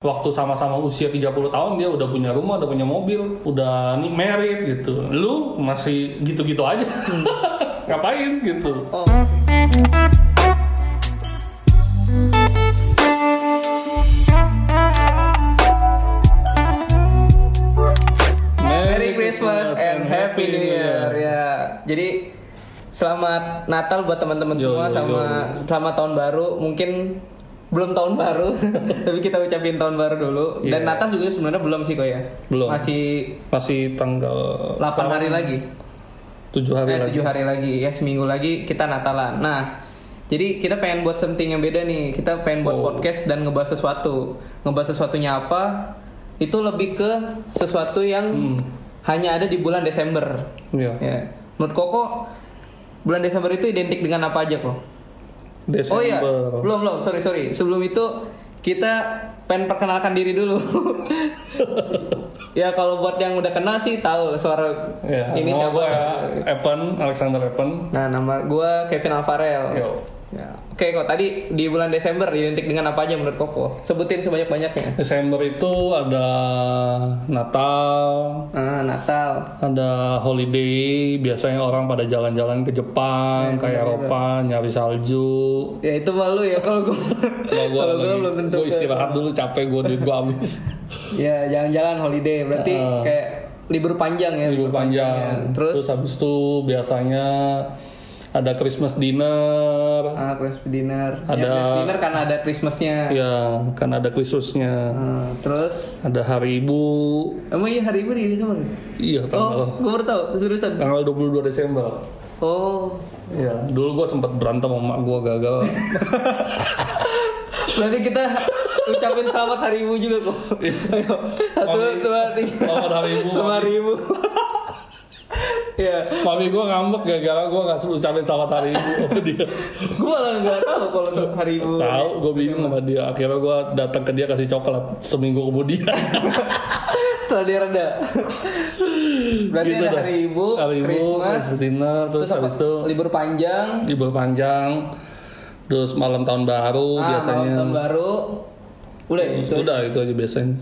waktu sama-sama usia 30 tahun dia udah punya rumah, udah punya mobil, udah nih married gitu. Lu masih gitu-gitu aja. Ngapain gitu. Merry Christmas and Happy New Year ya. Jadi selamat Natal buat teman-teman Yo, semua yo, sama yo. selamat tahun baru. Mungkin belum tahun baru, tapi kita ucapin tahun baru dulu. Dan Iya. Natal juga sebenarnya belum sih kok ya. Belum. Masih Masih tanggal 8 hari lagi. 7 hari eh, lagi. 7 hari lagi. Ya seminggu lagi kita Natalan. Nah, jadi kita pengen buat something yang beda nih. Kita pengen buat Oh. podcast dan ngebahas sesuatu. Ngebahas sesuatunya apa? Itu lebih ke sesuatu Hmm. yang hanya ada di bulan Desember. Iya. Ya. Menurut Koko bulan Desember itu identik dengan apa aja kok? Desember. Oh iya, belum belum. Sorry sorry. Sebelum itu kita pengen perkenalkan diri dulu. ya kalau buat yang udah kenal sih tahu suara Ya, ini nama siapa. gue Evan, Alexander Evan. Nah nama gue Kevin Alvarel. Yo. Ya. Oke kok tadi di bulan Desember identik dengan apa aja menurut Koko? Sebutin sebanyak banyaknya. Desember itu ada Natal, Ah, Natal. ada holiday biasanya orang pada jalan-jalan ke Iya, Jepang ke Eropa nyari salju Ya itu malu ya kalau gue. Kalau gua kalau gue lagi- belum tentu. gua ke- istirahat dulu capek gue duit gue habis Ya jalan-jalan holiday berarti Heeh. kayak libur panjang ya. libur panjang ya. terus, Terus? habis itu biasanya ada Christmas dinner Ah, Christmas dinner. Ya, Ada- Christmas dinner karena ada Christmasnya. ya kan ada Christmasnya Ah, terus ada hari ibu emang iya hari ibu di Desember. iya Oh, tanggal gue baru tahu seriusan. tanggal 22 Desember Oh, ya dulu gue sempat berantem sama mak gue gagal berarti kita ucapin selamat hari ibu juga kok. Ayo, satu, Mami, dua, tiga. Iya. selamat hari ibu, Selamat Mami. hari ibu. ya, Mami gue ngambek gara-gara gue gak ucapin selamat hari ibu sama dia gue malah nggak tahu kalau untuk hari ibu. Tahu, gue bingung sama dia. Akhirnya gue datang ke dia kasih coklat seminggu kemudian. Setelah dia reda. Berarti Gitu ada dah. hari ibu, hari ibu, Christmas, Christmas dinner, terus, apa? habis itu libur panjang. libur panjang, terus malam tahun baru Ah, Oh, biasanya. malam tahun baru. Udah ya, itu. Udah itu aja biasanya.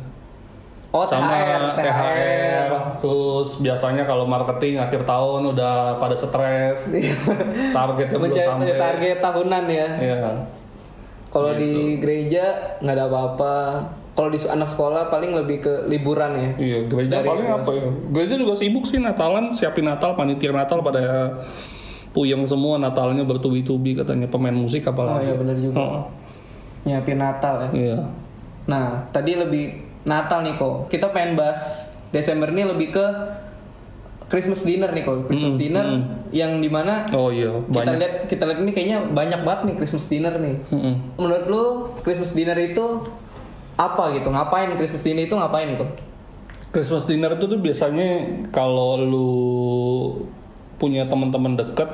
Oh, Sama THR, THR, terus biasanya kalau marketing akhir tahun udah pada stres, targetnya belum Mencari sampai. Iya. target tahunan ya. Iya. gitu. Kalau di gereja nggak ada apa-apa. Kalau di anak sekolah paling lebih ke liburan ya. Iya, gereja Dari paling apa ya? Gereja juga sibuk sih Natalan, siapin Natal, panitia Natal pada puyeng semua Natalnya bertubi-tubi katanya pemain musik Oh apalagi. iya benar juga. Oh, Nyiapin Natal ya. iya. Nah, tadi lebih Natal nih kok. Kita pengen bahas Desember ini lebih ke Christmas dinner nih kok. Christmas dinner yang dimana Oh iya, Hmm, kita banyak. lihat kita lihat ini kayaknya banyak banget nih Christmas dinner nih. Mm-mm. Menurut lu Christmas dinner itu apa gitu? Ngapain Christmas dinner itu ngapain kok? Christmas dinner itu tuh biasanya kalau lu punya teman-teman deket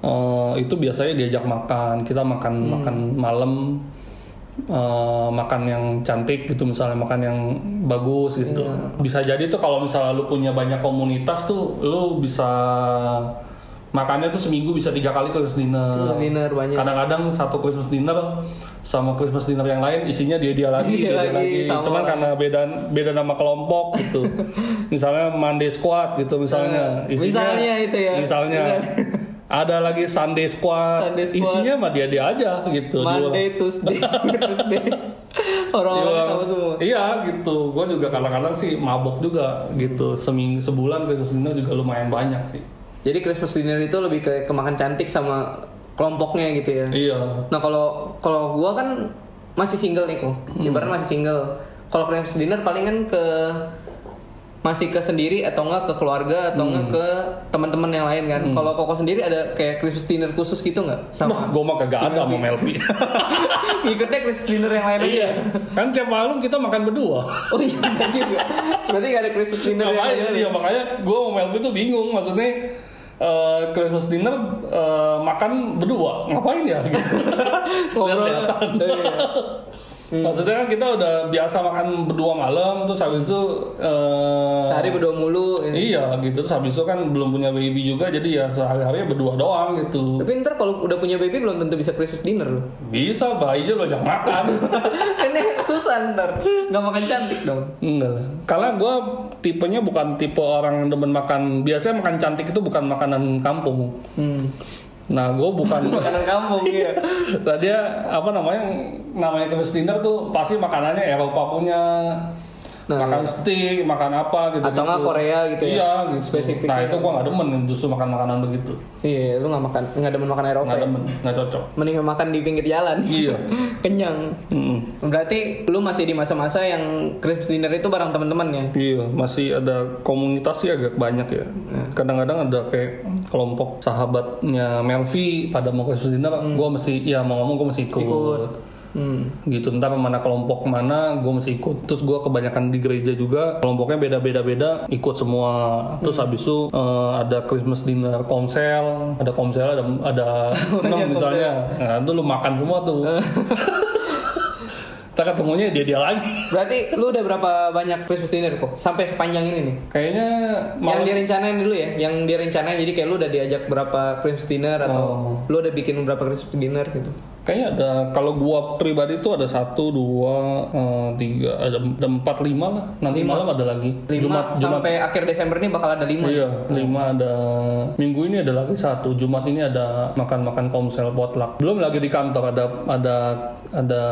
eh, itu biasanya diajak makan. Kita makan Hmm. makan malam eh, makan yang cantik gitu misalnya makan yang bagus gitu. Iya. Bisa jadi tuh kalau misalnya lu punya banyak komunitas tuh lu bisa makannya tuh seminggu bisa tiga kali Christmas dinner. Christmas dinner banyak. Kadang-kadang satu Christmas dinner sama Christmas dinner yang lain isinya dia-dia lagi, Dia dia-dia Iya lagi, sama Cuman lagi. karena beda beda nama kelompok gitu. misalnya Monday Squad gitu misalnya. Eh, misalnya itu ya. Misalnya. Ada lagi Sunday Squad. Sunday Squad. Isinya mah dia-dia aja gitu. Monday, Tuesday, Thursday. Orang-orang Diulang. sama semua. Iya gitu. Gue juga kadang-kadang sih mabok juga gitu. Seminggu sebulan Christmas dinner juga lumayan banyak sih. Jadi Christmas dinner itu lebih ke kemakan cantik sama kelompoknya gitu ya. Iya. Nah kalau kalau gua kan masih single nih kok. Hmm. Ibaratnya masih single. Kalau Christmas dinner paling kan ke masih ke sendiri atau enggak ke keluarga atau Hmm. enggak ke teman-teman yang lain kan. Kalau Koko sendiri ada kayak Christmas dinner khusus gitu nggak? Wah, Sama Iya. gue mah kagak ada sama Melvi. ngikutnya Christmas dinner yang lain aja. iya. Kan tiap malam kita makan berdua. Oh iya ada juga. Berarti nggak ada Christmas dinner ya, yang makanya lain. iya makanya gue sama Melby tuh bingung maksudnya eh, Christmas dinner eh, makan berdua ngapain ya gitu Ngobrol. Lihat-lihatan. Iya. Maksudnya kan kita udah biasa makan berdua malam terus habis itu eh, Sehari berdua mulu. gitu. Iya gitu terus habis itu kan belum punya baby juga jadi ya sehari-hari berdua doang gitu. Tapi ntar kalau udah punya baby belum tentu bisa Christmas dinner loh. Bisa bayinya lo ajak makan. Ini susah ntar. Gak makan cantik dong. Enggak lah. Karena gue tipenya bukan tipe orang yang demen makan. Biasanya makan cantik itu bukan makanan kampung. Hmm. Nah gue bukan. Makanan kampung ya. nah dia apa namanya namanya Christmas dinner tuh pasti makanannya Eropa punya. Nah, makan steak, makan apa gitu. Atau nggak Korea gitu ya? Iya, gitu. Spesifik Nah ya. itu gue nggak demen justru makan makanan begitu. Iya, lu nggak makan, nggak demen makan Eropa. Nggak ya? demen, nggak cocok. Mending makan di pinggir jalan. Iya. Kenyang. Mm. Berarti lu masih di masa-masa yang Christmas dinner itu bareng teman-teman ya? Iya, masih ada komunitas sih agak banyak ya. Iya. Kadang-kadang ada kayak kelompok sahabatnya Melvi pada mau ke dinner, gue mesti, ya mau ngomong gue mesti ikut. Hmm. Gitu, entar mana kelompok mana, gue mesti ikut. Terus gue kebanyakan di gereja juga, kelompoknya beda-beda-beda, ikut semua. Terus habis itu eh, ada Christmas dinner komsel, ada komsel, ada ada nom misalnya. Nah, itu lu makan semua tuh. Ntar ketemunya dia-dia lagi. Berarti lu udah berapa banyak Christmas dinner kok? Sampai sepanjang ini nih? Kayaknya malam Yang direncanain dulu ya, yang direncanain jadi kayak lu udah diajak berapa Christmas dinner atau lu udah bikin berapa Christmas dinner gitu. Kayaknya ada kalau gua pribadi tuh ada satu, dua, eh, tiga, ada, ada empat, lima lah. Nanti malam ada lagi. 5 sampai akhir Desember ini bakal ada 5. Iya, lima ada. Minggu ini ada lagi satu. Jumat ini ada makan-makan komsel potluck. Belum lagi di kantor ada ada ada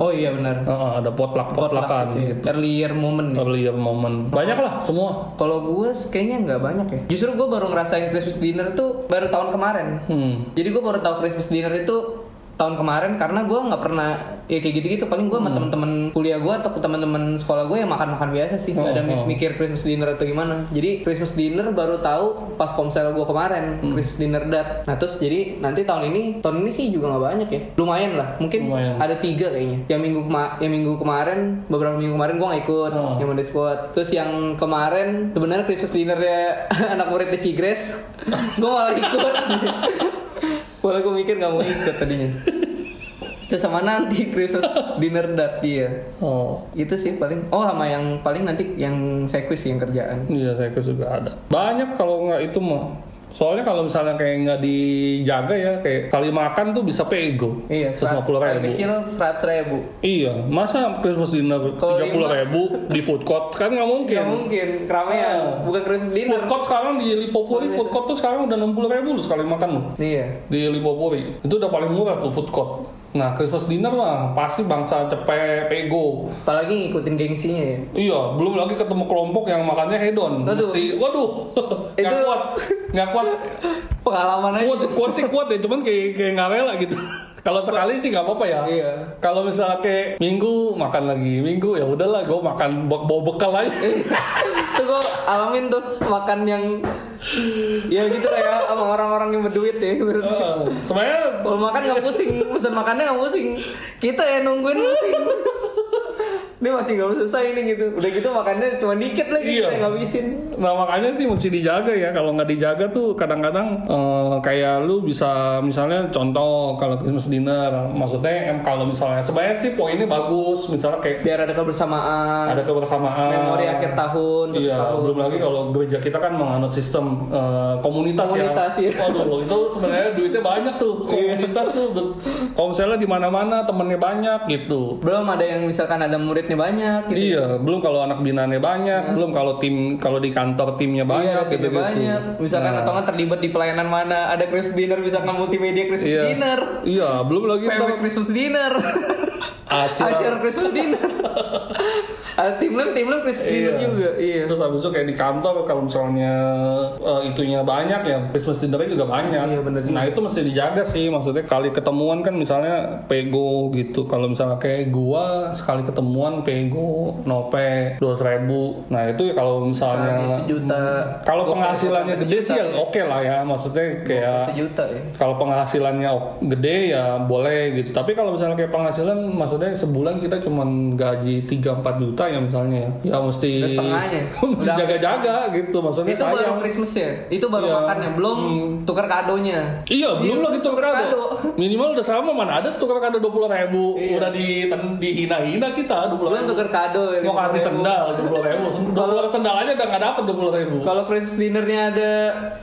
Oh iya benar. eh, eh, ada potluck Iya, potluckan gitu. Earlier moment nih. Earlier moment. Banyak lah semua. Kalau gue kayaknya nggak banyak ya. Justru gue baru ngerasain Christmas dinner tuh baru tahun kemarin. Hmm. Jadi gue baru tahu Christmas dinner itu tahun kemarin karena gue nggak pernah ya kayak gitu-gitu paling gue sama Hmm. teman-teman kuliah gue atau teman-teman sekolah gue ya makan-makan biasa sih nggak Oh, ada mi- mikir Christmas dinner atau gimana jadi Christmas dinner baru tahu pas komsel gue kemarin Hmm. Christmas dinner dat nah terus jadi nanti tahun ini tahun ini sih juga nggak banyak ya lumayan lah mungkin Lumayan. ada tiga kayaknya yang minggu kema- yang minggu kemarin beberapa minggu kemarin gue nggak ikut Oh. yang Monday Squad terus yang kemarin sebenarnya Christmas dinnernya anak muridnya Cigres gue malah ikut Walau gue mikir gak mau ikut tadinya Terus sama nanti Christmas dinner dat dia Oh. Itu sih paling Oh sama yang paling nanti yang saya quiz yang kerjaan Iya, saya kira juga ada. Banyak kalau nggak itu mah. Soalnya kalau misalnya kayak nggak dijaga ya, kayak kali makan tuh bisa pego. Iya 150 serat- ribu. kecil 100 ribu Iya, masa Christmas dinner Kalau tiga puluh ribu di food court kan nggak mungkin. Oh. Gak mungkin keramaian Bukan Christmas dinner Food court sekarang di Lipopuri food court tuh sekarang udah enam puluh ribu lu sekali makan lu Iya di Lipopuri. Itu udah paling murah tuh food court. Nah Christmas dinner mah pasti bangsa cepet pego. Apalagi ngikutin gengsinya ya Iya, belum lagi ketemu kelompok yang makannya hedon. Aduh. Mesti, waduh, nggak Itu- kuat, nggak kuat. Pengalaman aja Kuat, kuat sih kuat ya, cuman kayak kayak nggak rela gitu. Kalau sekali sih nggak apa-apa ya. Iya Kalau misalnya kayak minggu makan lagi minggu ya udahlah gue makan bawa bawa bekal aja. Itu gue alamin tuh makan yang Ya gitu lah ya Sama orang-orang yang berduit ya berarti. Heeh. Sebenarnya Kalau makan nggak pusing, pesan makannya nggak pusing. Kita yang nungguin pusing. Ini masih nggak selesai ini gitu. Udah gitu makannya cuma dikit lagi Iya. kita ngabisin. nah makanya sih mesti dijaga ya. Kalau nggak dijaga tuh kadang-kadang eh, kayak lu bisa misalnya contoh kalau Christmas dinner maksudnya em kalau misalnya sebenarnya sih poinnya bagus misalnya kayak Biar ada kebersamaan, ada kebersamaan memori akhir tahun, tutup Iya, tahun. belum lagi kalau gereja kita kan menganut sistem eh, komunitas, Komunitas, ya. iya. Waduh, itu sebenarnya duitnya banyak tuh. Komunitas tuh bet- komselnya di mana-mana, temennya banyak gitu. Belum ada yang misalkan ada muridnya banyak gitu. Iya, belum kalau anak binaannya banyak, belum kalau tim kalau di kantor timnya banyak gitu gitu gitu. Iya. banyak. Misalkan atau nggak terlibat di pelayanan mana, ada Christmas dinner, misalkan multimedia Christmas Iya. dinner, Iya, belum lagi PW ntar Christmas dinner, Asia. Asyar Christmas dinner. ada tim lem, tim lem Christmas dinner Iya. juga. Iya. Terus habis itu kayak di kantor kalau misalnya eh, itunya banyak ya Christmas dinnernya juga banyak. Iya, bener nah itu mesti dijaga sih maksudnya kali ketemuan kan misalnya pego gitu kalau misalnya kayak gua sekali ketemuan pego nope dua ribu. Nah itu ya kalau misalnya Misalnya sejuta. kalau Gopay penghasilannya sejuta, gede sih ya sejuta, oke lah ya maksudnya kayak sejuta ya. kalau penghasilannya o- gede ya boleh gitu tapi kalau misalnya kayak penghasilan maksudnya sebulan kita cuman gaji 3-4 juta juta ya misalnya ya. Ya mesti Udah setengahnya. mesti Udah. jaga-jaga gitu maksudnya. itu baru sayang. Christmas ya itu baru Iya. makannya belum tukar kadonya Iya, belum lagi tukar tukar kado. kado. Minimal udah sama mana ada tukar kado 20.000 Iya. Udah di dihina-hina kita 20.000 belum tukar kado ya, Mau kasih sendal 20.000 ribu. sendal aja udah nggak dapet 20.000 kalau Christmas dinnernya ada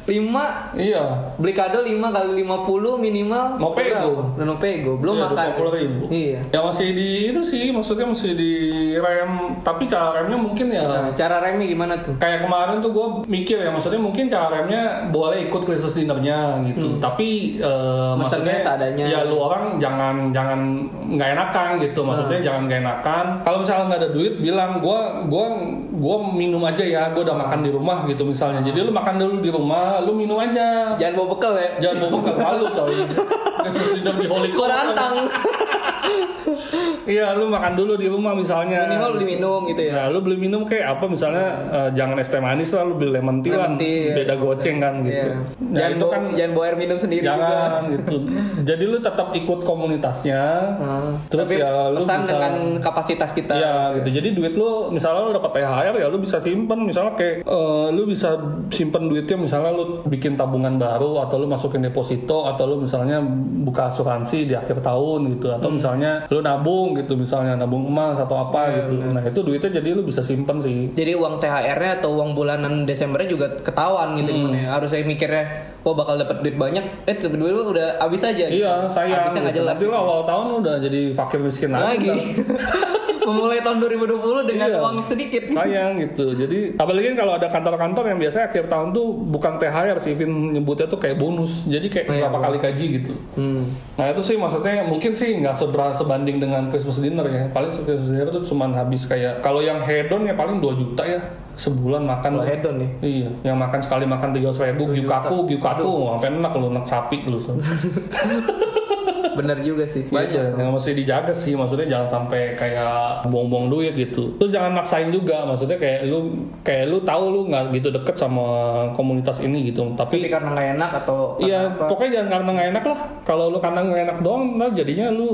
5 Iya. beli kado 5 kali 50 minimal Mau pego. Udah, udah no pego belum Iya, makan 20.000. iya Ya masih di itu sih, maksudnya masih di rem. Tapi cara remnya mungkin ya Nah, cara remnya gimana tuh kayak kemarin tuh gue mikir ya maksudnya mungkin cara remnya boleh ikut Christmas dinnernya gitu tapi eh, Hmm. maksudnya Mesennya seadanya. ya lu orang jangan jangan nggak enakan gitu Hmm. maksudnya jangan nggak enakan kalau misalnya nggak ada duit bilang gue gua gua minum aja ya gue udah makan di rumah gitu misalnya jadi lu makan dulu di rumah lu minum aja jangan bawa bekal ya jangan bawa bekal malu coy Christmas dinner di Holy Gua Cow. rantang iya lu makan dulu di rumah misalnya minimal beli minum gitu ya Nah, lu beli minum kayak apa misalnya eh, jangan es teh manis lah, lu beli lemon tea Lemon kan, tea, beda goceng kan gitu. Iya. Nah, jangan itu bawa, kan jangan bawa air minum sendiri juga jangan gitu. Jadi lu tetap ikut komunitasnya. Nah, Terus tapi ya lu pesan bisa- dengan kapasitas kita Iya gitu. Jadi duit lu misalnya lu dapat THR ya lu bisa simpen misalnya kayak eh, lu bisa simpen duitnya misalnya lu bikin tabungan baru atau lu masukin deposito atau lu misalnya buka asuransi di akhir tahun gitu Hmm. atau misalnya lu nabung gitu misalnya nabung emas atau apa Iya, gitu. Nah, itu duitnya jadi lu bisa simpen sih. Jadi uang THR-nya atau uang bulanan Desembernya juga ketahuan gitu Hmm. gimana ya. Harus saya mikirnya, wah bakal dapat duit banyak. Eh, tapi duit lu udah habis aja. Iya, sayang. Habisnya nggak gitu. jelas. Nanti lo awal tahun lo udah jadi fakir miskin Lagi. kan. Nah, gitu. Memulai tahun 2020 dengan Iya. uang sedikit. Sayang gitu. Jadi apalagi kalau ada kantor-kantor yang biasanya akhir tahun tuh bukan THR sih, Vin nyebutnya tuh kayak bonus. Jadi kayak Iya, berapa kali gaji gitu. Hmm. Nah itu sih maksudnya mungkin sih nggak sebera sebanding dengan Christmas dinner ya. Paling Christmas dinner tuh cuman habis kayak kalau yang hedon ya paling 2 juta ya sebulan Kalau makan. hedon nih. Iya, yang makan sekali makan tiga ratus ribu, biukaku, biukaku, sampai enak lo, enak sapi lo. Bener juga sih. Banyak Iya, yang mesti dijaga sih maksudnya jangan sampai kayak buang-buang duit gitu. Terus jangan maksain juga maksudnya kayak lu kayak lu tahu lu nggak gitu deket sama komunitas ini gitu. Tapi Tapi karena nggak enak atau karena Iya, apa. pokoknya jangan karena nggak enak lah. Kalau lu karena nggak enak doang, nah jadinya lu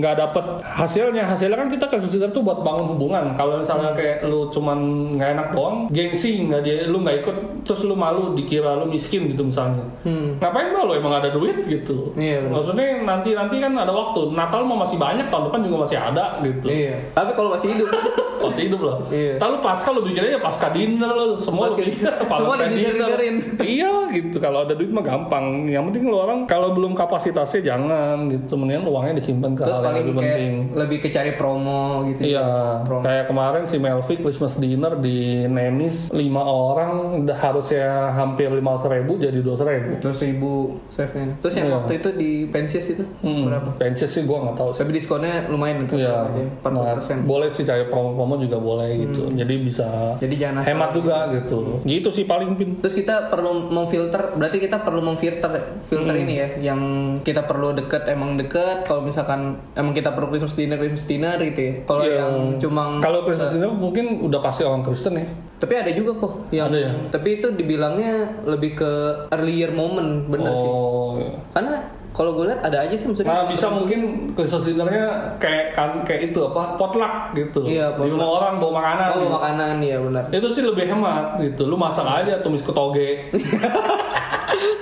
nggak dapet hasilnya. Hasilnya kan kita kasus itu tuh buat bangun hubungan. Kalau misalnya kayak lu cuman nggak enak doang, gengsi nggak dia, lu nggak ikut, terus lu malu dikira lu miskin gitu misalnya. Hmm. Ngapain malu emang ada duit gitu? Iya, benar. Maksudnya nanti nanti kan ada waktu. Natal mau masih banyak, tahun depan juga masih ada gitu. Iya. Tapi kalau masih hidup. Masih hidup lah. Iya. Lalu pasca lu bikinnya ya pasca dinner lo semua lu Pasca bikin dinner. Semua Valentine didinger-dingerin. iya gitu. Kalau ada duit mah gampang. Yang penting lu orang kalau belum kapasitasnya jangan gitu. Mendingan uangnya disimpan ke Terus hal yang paling lebih kayak penting. lebih ke cari promo gitu. Iya, Promo. kayak kemarin si Melvi Christmas dinner di Nenis lima orang udah harusnya hampir lima ribu jadi dua ribu. Terus ribu save-nya. Terus yang Iya. waktu itu di pensius itu berapa? Pensi Hmm. sih gue nggak tahu sih. Tapi diskonnya lumayan gitu. Iya, Berapa aja? 40%. nah, boleh sih cari promo-promo juga boleh gitu. Jadi bisa Jadi jangan asal. hemat juga gitu. Gitu sih paling pin. Terus kita perlu memfilter, berarti kita perlu memfilter filter Hmm. ini ya, yang kita perlu deket emang deket. Kalau misalkan emang kita perlu Christmas dinner Christmas dinner gitu ya. Kalau Iya. yang cuma Kalau Kristen sendiri mungkin udah pasti orang Kristen ya. tapi ada juga kok yang Ada ya? tapi itu dibilangnya lebih ke earlier moment bener sih. oh. Karena kalau gue lihat ada aja sih maksudnya. Nah bisa mungkin Kristen sebenarnya kayak kan kayak itu apa potluck gitu. Iya, Di potluck. rumah orang bawa makanan. Oh, makanan ya benar. Itu sih lebih hemat gitu. Lu masak aja tumis ketoge. Iya,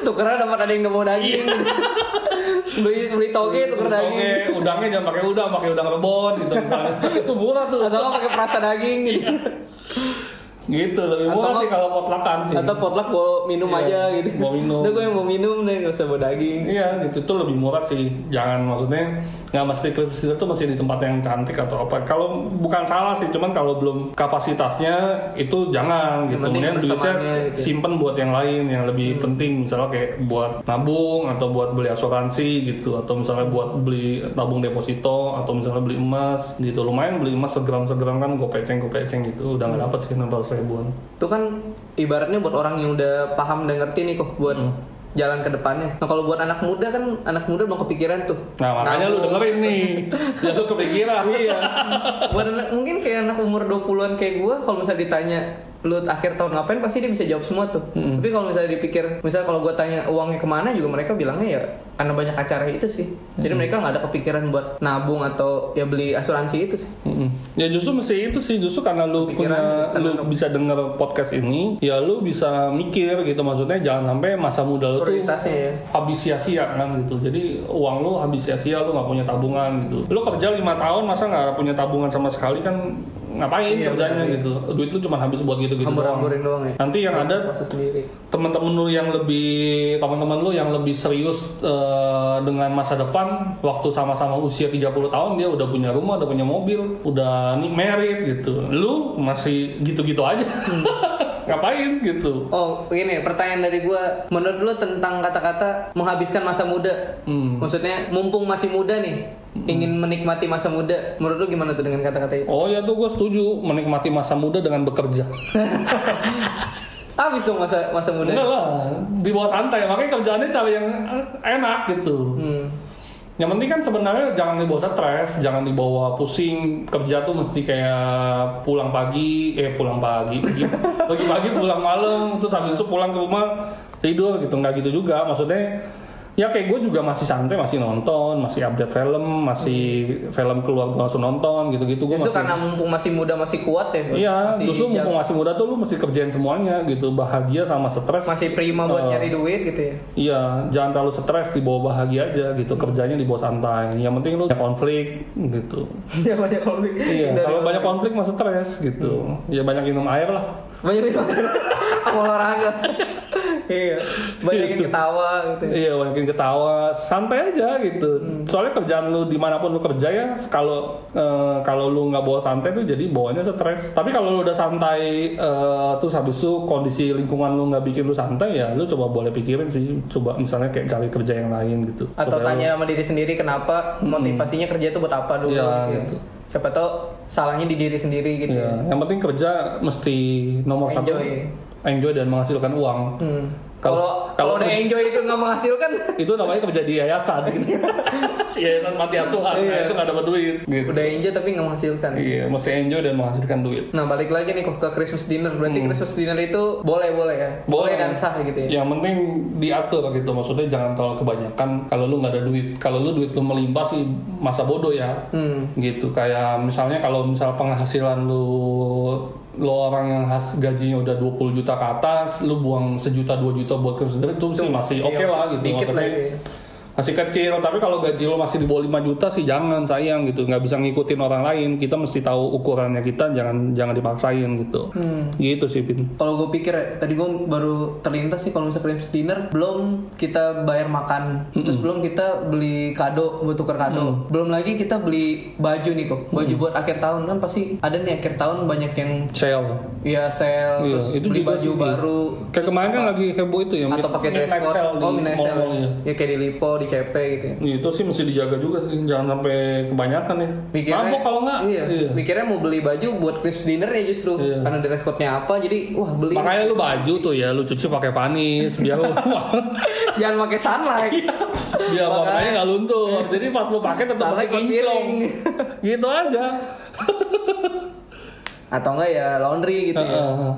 tukeran dapat ada yang nemu daging. Iya. beli beli toge tuker Tumis toge, daging. udangnya jangan pakai udang, pakai udang rebon gitu misalnya. itu murah tuh. Atau nggak pakai perasa daging gitu. Iya. Gitu lebih murah Atau- sih kalau potluckan sih. Atau potluck bawa minum Iya, aja gitu. bawa minum. Udah gue yang mau minum deh, gak usah bawa daging. Iya gitu itu lebih murah sih. Jangan maksudnya nggak mesti Christmas itu masih di tempat yang cantik atau apa. Kalau bukan salah sih, cuman kalau belum kapasitasnya itu jangan gitu. penting Kemudian duitnya kebersamaannya gitu. Hmm. simpen buat yang lain yang lebih penting, misalnya kayak buat nabung atau buat beli asuransi gitu, atau misalnya buat beli tabung deposito atau misalnya beli emas gitu. Lumayan beli emas segram-segram kan gopeceng gopeceng gitu. Udah Hmm. nggak dapet sih enam ribuan. Itu kan ibaratnya buat orang yang udah paham dan ngerti nih kok buat Hmm. jalan ke depannya. Nah kalau buat anak muda kan anak muda belum kepikiran tuh. Nah makanya lu Nabung. dengerin nih, ya lu kepikiran. Iya. buat anak- mungkin kayak anak umur 20-an kayak gue kalau misalnya ditanya lu akhir tahun ngapain pasti dia bisa jawab semua tuh. Tapi kalau misalnya dipikir, misalnya kalau gue tanya uangnya kemana juga mereka bilangnya ya karena banyak acara itu sih. Jadi mereka nggak ada kepikiran buat nabung atau ya beli asuransi itu sih. Mm-mm. Ya justru mesti itu sih justru karena lu gitu, punya lu bisa denger podcast ini, ya lu bisa mikir gitu maksudnya jangan sampai masa muda lu tuh Prioritasnya ya. habis sia-sia kan gitu. Jadi uang lu habis sia-sia lu nggak punya tabungan gitu. Lu kerja lima tahun masa nggak punya tabungan sama sekali kan ngapain Iya, kerjanya benar, iya. gitu. Duit lu cuma habis buat gitu-gitu doang. Hambur-hamburin doang ya. Nanti yang ada Masa sendiri. teman-teman lu yang lebih teman-teman lu yang lebih serius eh, dengan masa depan waktu sama-sama usia 30 tahun dia udah punya rumah, udah punya mobil, udah ni- married gitu. Lu masih gitu-gitu aja. Ngapain gitu. Oh, gini, pertanyaan dari gua menurut lu tentang kata-kata menghabiskan masa muda. Hmm. Maksudnya mumpung masih muda nih, ingin menikmati masa muda. Menurut lu gimana tuh dengan kata-kata itu? Oh ya tuh gue setuju menikmati masa muda dengan bekerja. Habis dong masa masa muda. Enggak lah, di bawah santai makanya kerjaannya cari yang eh, enak gitu. Hmm. Yang penting kan sebenarnya jangan dibawa stres, jangan dibawa pusing. Kerja tuh mesti kayak pulang pagi, eh pulang pagi, pagi-pagi pulang malam, terus habis itu pulang ke rumah tidur gitu. Nggak gitu juga, maksudnya ya kayak gue juga masih santai, masih nonton, masih update film, masih film keluar gue langsung nonton gitu-gitu. Gue Justru masih karena mumpung masih muda masih kuat ya. Iya, masih justru jag- mumpung masih muda tuh lu mesti kerjain semuanya gitu, bahagia sama stres. masih prima Oh. buat nyari duit gitu ya. Iya, jangan terlalu stres, dibawa bahagia aja gitu. Kerjanya dibawa santai. Yang penting lu banyak konflik gitu. Iya banyak konflik. Iya, Dari- kalau banyak konflik mah stres gitu. Ya banyak minum air lah. banyak itu sama olahraga. iya, banyak yang ketawa gitu. ya. Iya, banyakin ketawa, santai aja gitu. Soalnya kerjaan lu dimanapun lu kerja ya, kalau eh, kalau lu nggak bawa santai tuh jadi bawanya stres. Tapi kalau lu udah santai, eh, terus habis itu kondisi lingkungan lu nggak bikin lu santai ya, lu coba boleh pikirin sih, coba misalnya kayak cari kerja yang lain gitu. Atau Supaya tanya sama diri sendiri kenapa motivasinya kerja itu buat apa dulu Hmm. Iya, gitu. ya. gitu. Siapa tahu salahnya di diri sendiri gitu. Iya, ya. yang penting kerja mesti nomor satu Enjoy. enjoy dan menghasilkan uang. Hmm. Kalau- Kalau kalau udah kalau- enjoy itu nggak menghasilkan, Itu namanya kerja di yayasan. gitu. yayasan mati asuhan, nah, Iya. itu nggak dapat duit. Gitu. udah enjoy tapi nggak menghasilkan. Iya, mesti enjoy dan menghasilkan duit. Nah balik lagi nih ke Christmas dinner berarti Hmm. Christmas dinner itu boleh boleh ya, boleh, dan sah gitu ya. Yang penting diatur gitu, maksudnya jangan terlalu kebanyakan. Kalau lu nggak ada duit, kalau lu duit lu melimpah sih masa bodoh ya. Hmm. gitu kayak misalnya kalau misal penghasilan lu lo orang yang has, gajinya udah 20 juta ke atas lu buang sejuta dua juta buat ke sendiri itu sih masih iya, oke lah gitu dikit lah Maksudnya ya. masih kecil tapi kalau gaji lo masih di bawah 5 juta sih jangan sayang gitu nggak bisa ngikutin orang lain kita mesti tahu ukurannya kita jangan jangan dipaksain gitu Hmm. gitu sih Pin Kalau gue pikir ya, tadi gue baru terlintas sih kalau misalnya Christmas dinner belum kita bayar makan, terus belum kita beli kado buat tuker kado, belum lagi kita beli baju nih kok, baju buat akhir tahun kan pasti ada nih akhir tahun banyak yang sale ya sale Iya, terus itu beli juga baju sih, iya. baru kayak kemarin kan lagi heboh itu ya atau mid- pakai dress midnight code, sale oh di midnight sale, mall-mall, iya. ya kayak di Lipo, di CP gitu ya. Iya, itu sih mesti dijaga juga sih jangan sampai kebanyakan ya mabok kalau nggak iya, iya. mikirnya mau beli baju buat Christmas dinner ya justru Iya. karena dress code-nya apa, jadi wah beli Makanya lu baju tuh ya, lu cuci pakai vanis biar lu jangan pakai sunlight. Iya. biar warnanya nggak luntur. Jadi pas lu pakai tetap Salah masih ikut kinclong. gitu aja. atau enggak ya laundry gitu ya. Heeh.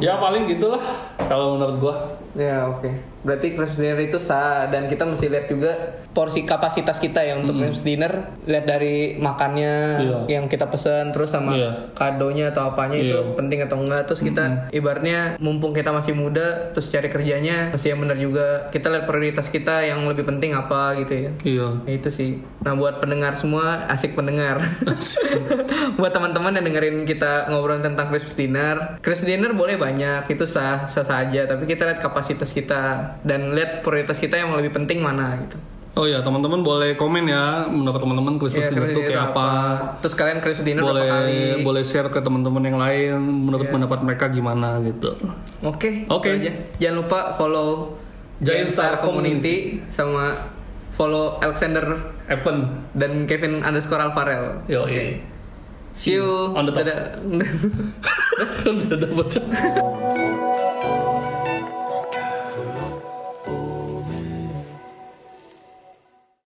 ya paling gitulah kalau menurut gua. Ya oke. Berarti Christmas dinner itu sah dan kita mesti lihat juga porsi kapasitas kita ya untuk Christmas dinner. Lihat dari makannya Hmm. Iya. yang kita pesan terus sama Iya. kadonya atau apanya itu Iya. Hmm. penting atau enggak. Terus kita ibaratnya mumpung kita masih muda terus cari kerjanya mesti yang benar juga. Kita lihat prioritas kita yang lebih penting apa gitu ya. Iya. Itu sih. Nah buat pendengar semua asik pendengar. buat teman-teman yang dengerin kita ngobrol tentang Christmas dinner, Christmas dinner boleh banyak itu sah sah saja. Tapi kita lihat kapasitas kita dan lihat prioritas kita yang lebih penting mana gitu. Oh ya teman-teman boleh komen ya menurut teman-teman Ya, Christmas dinner Christmas tuh dinner kayak apa. Terus kalian Christmas dinner Boleh berapa kali? boleh share ke teman-teman yang lain menurut pendapat mereka gimana gitu. Oke. itu Oke. aja. Jangan lupa follow Giant Star Community sama follow Alexander Appen. dan Kevin underscore Alvarel. Yo, See you. On the top. Dadah. Udah dapet.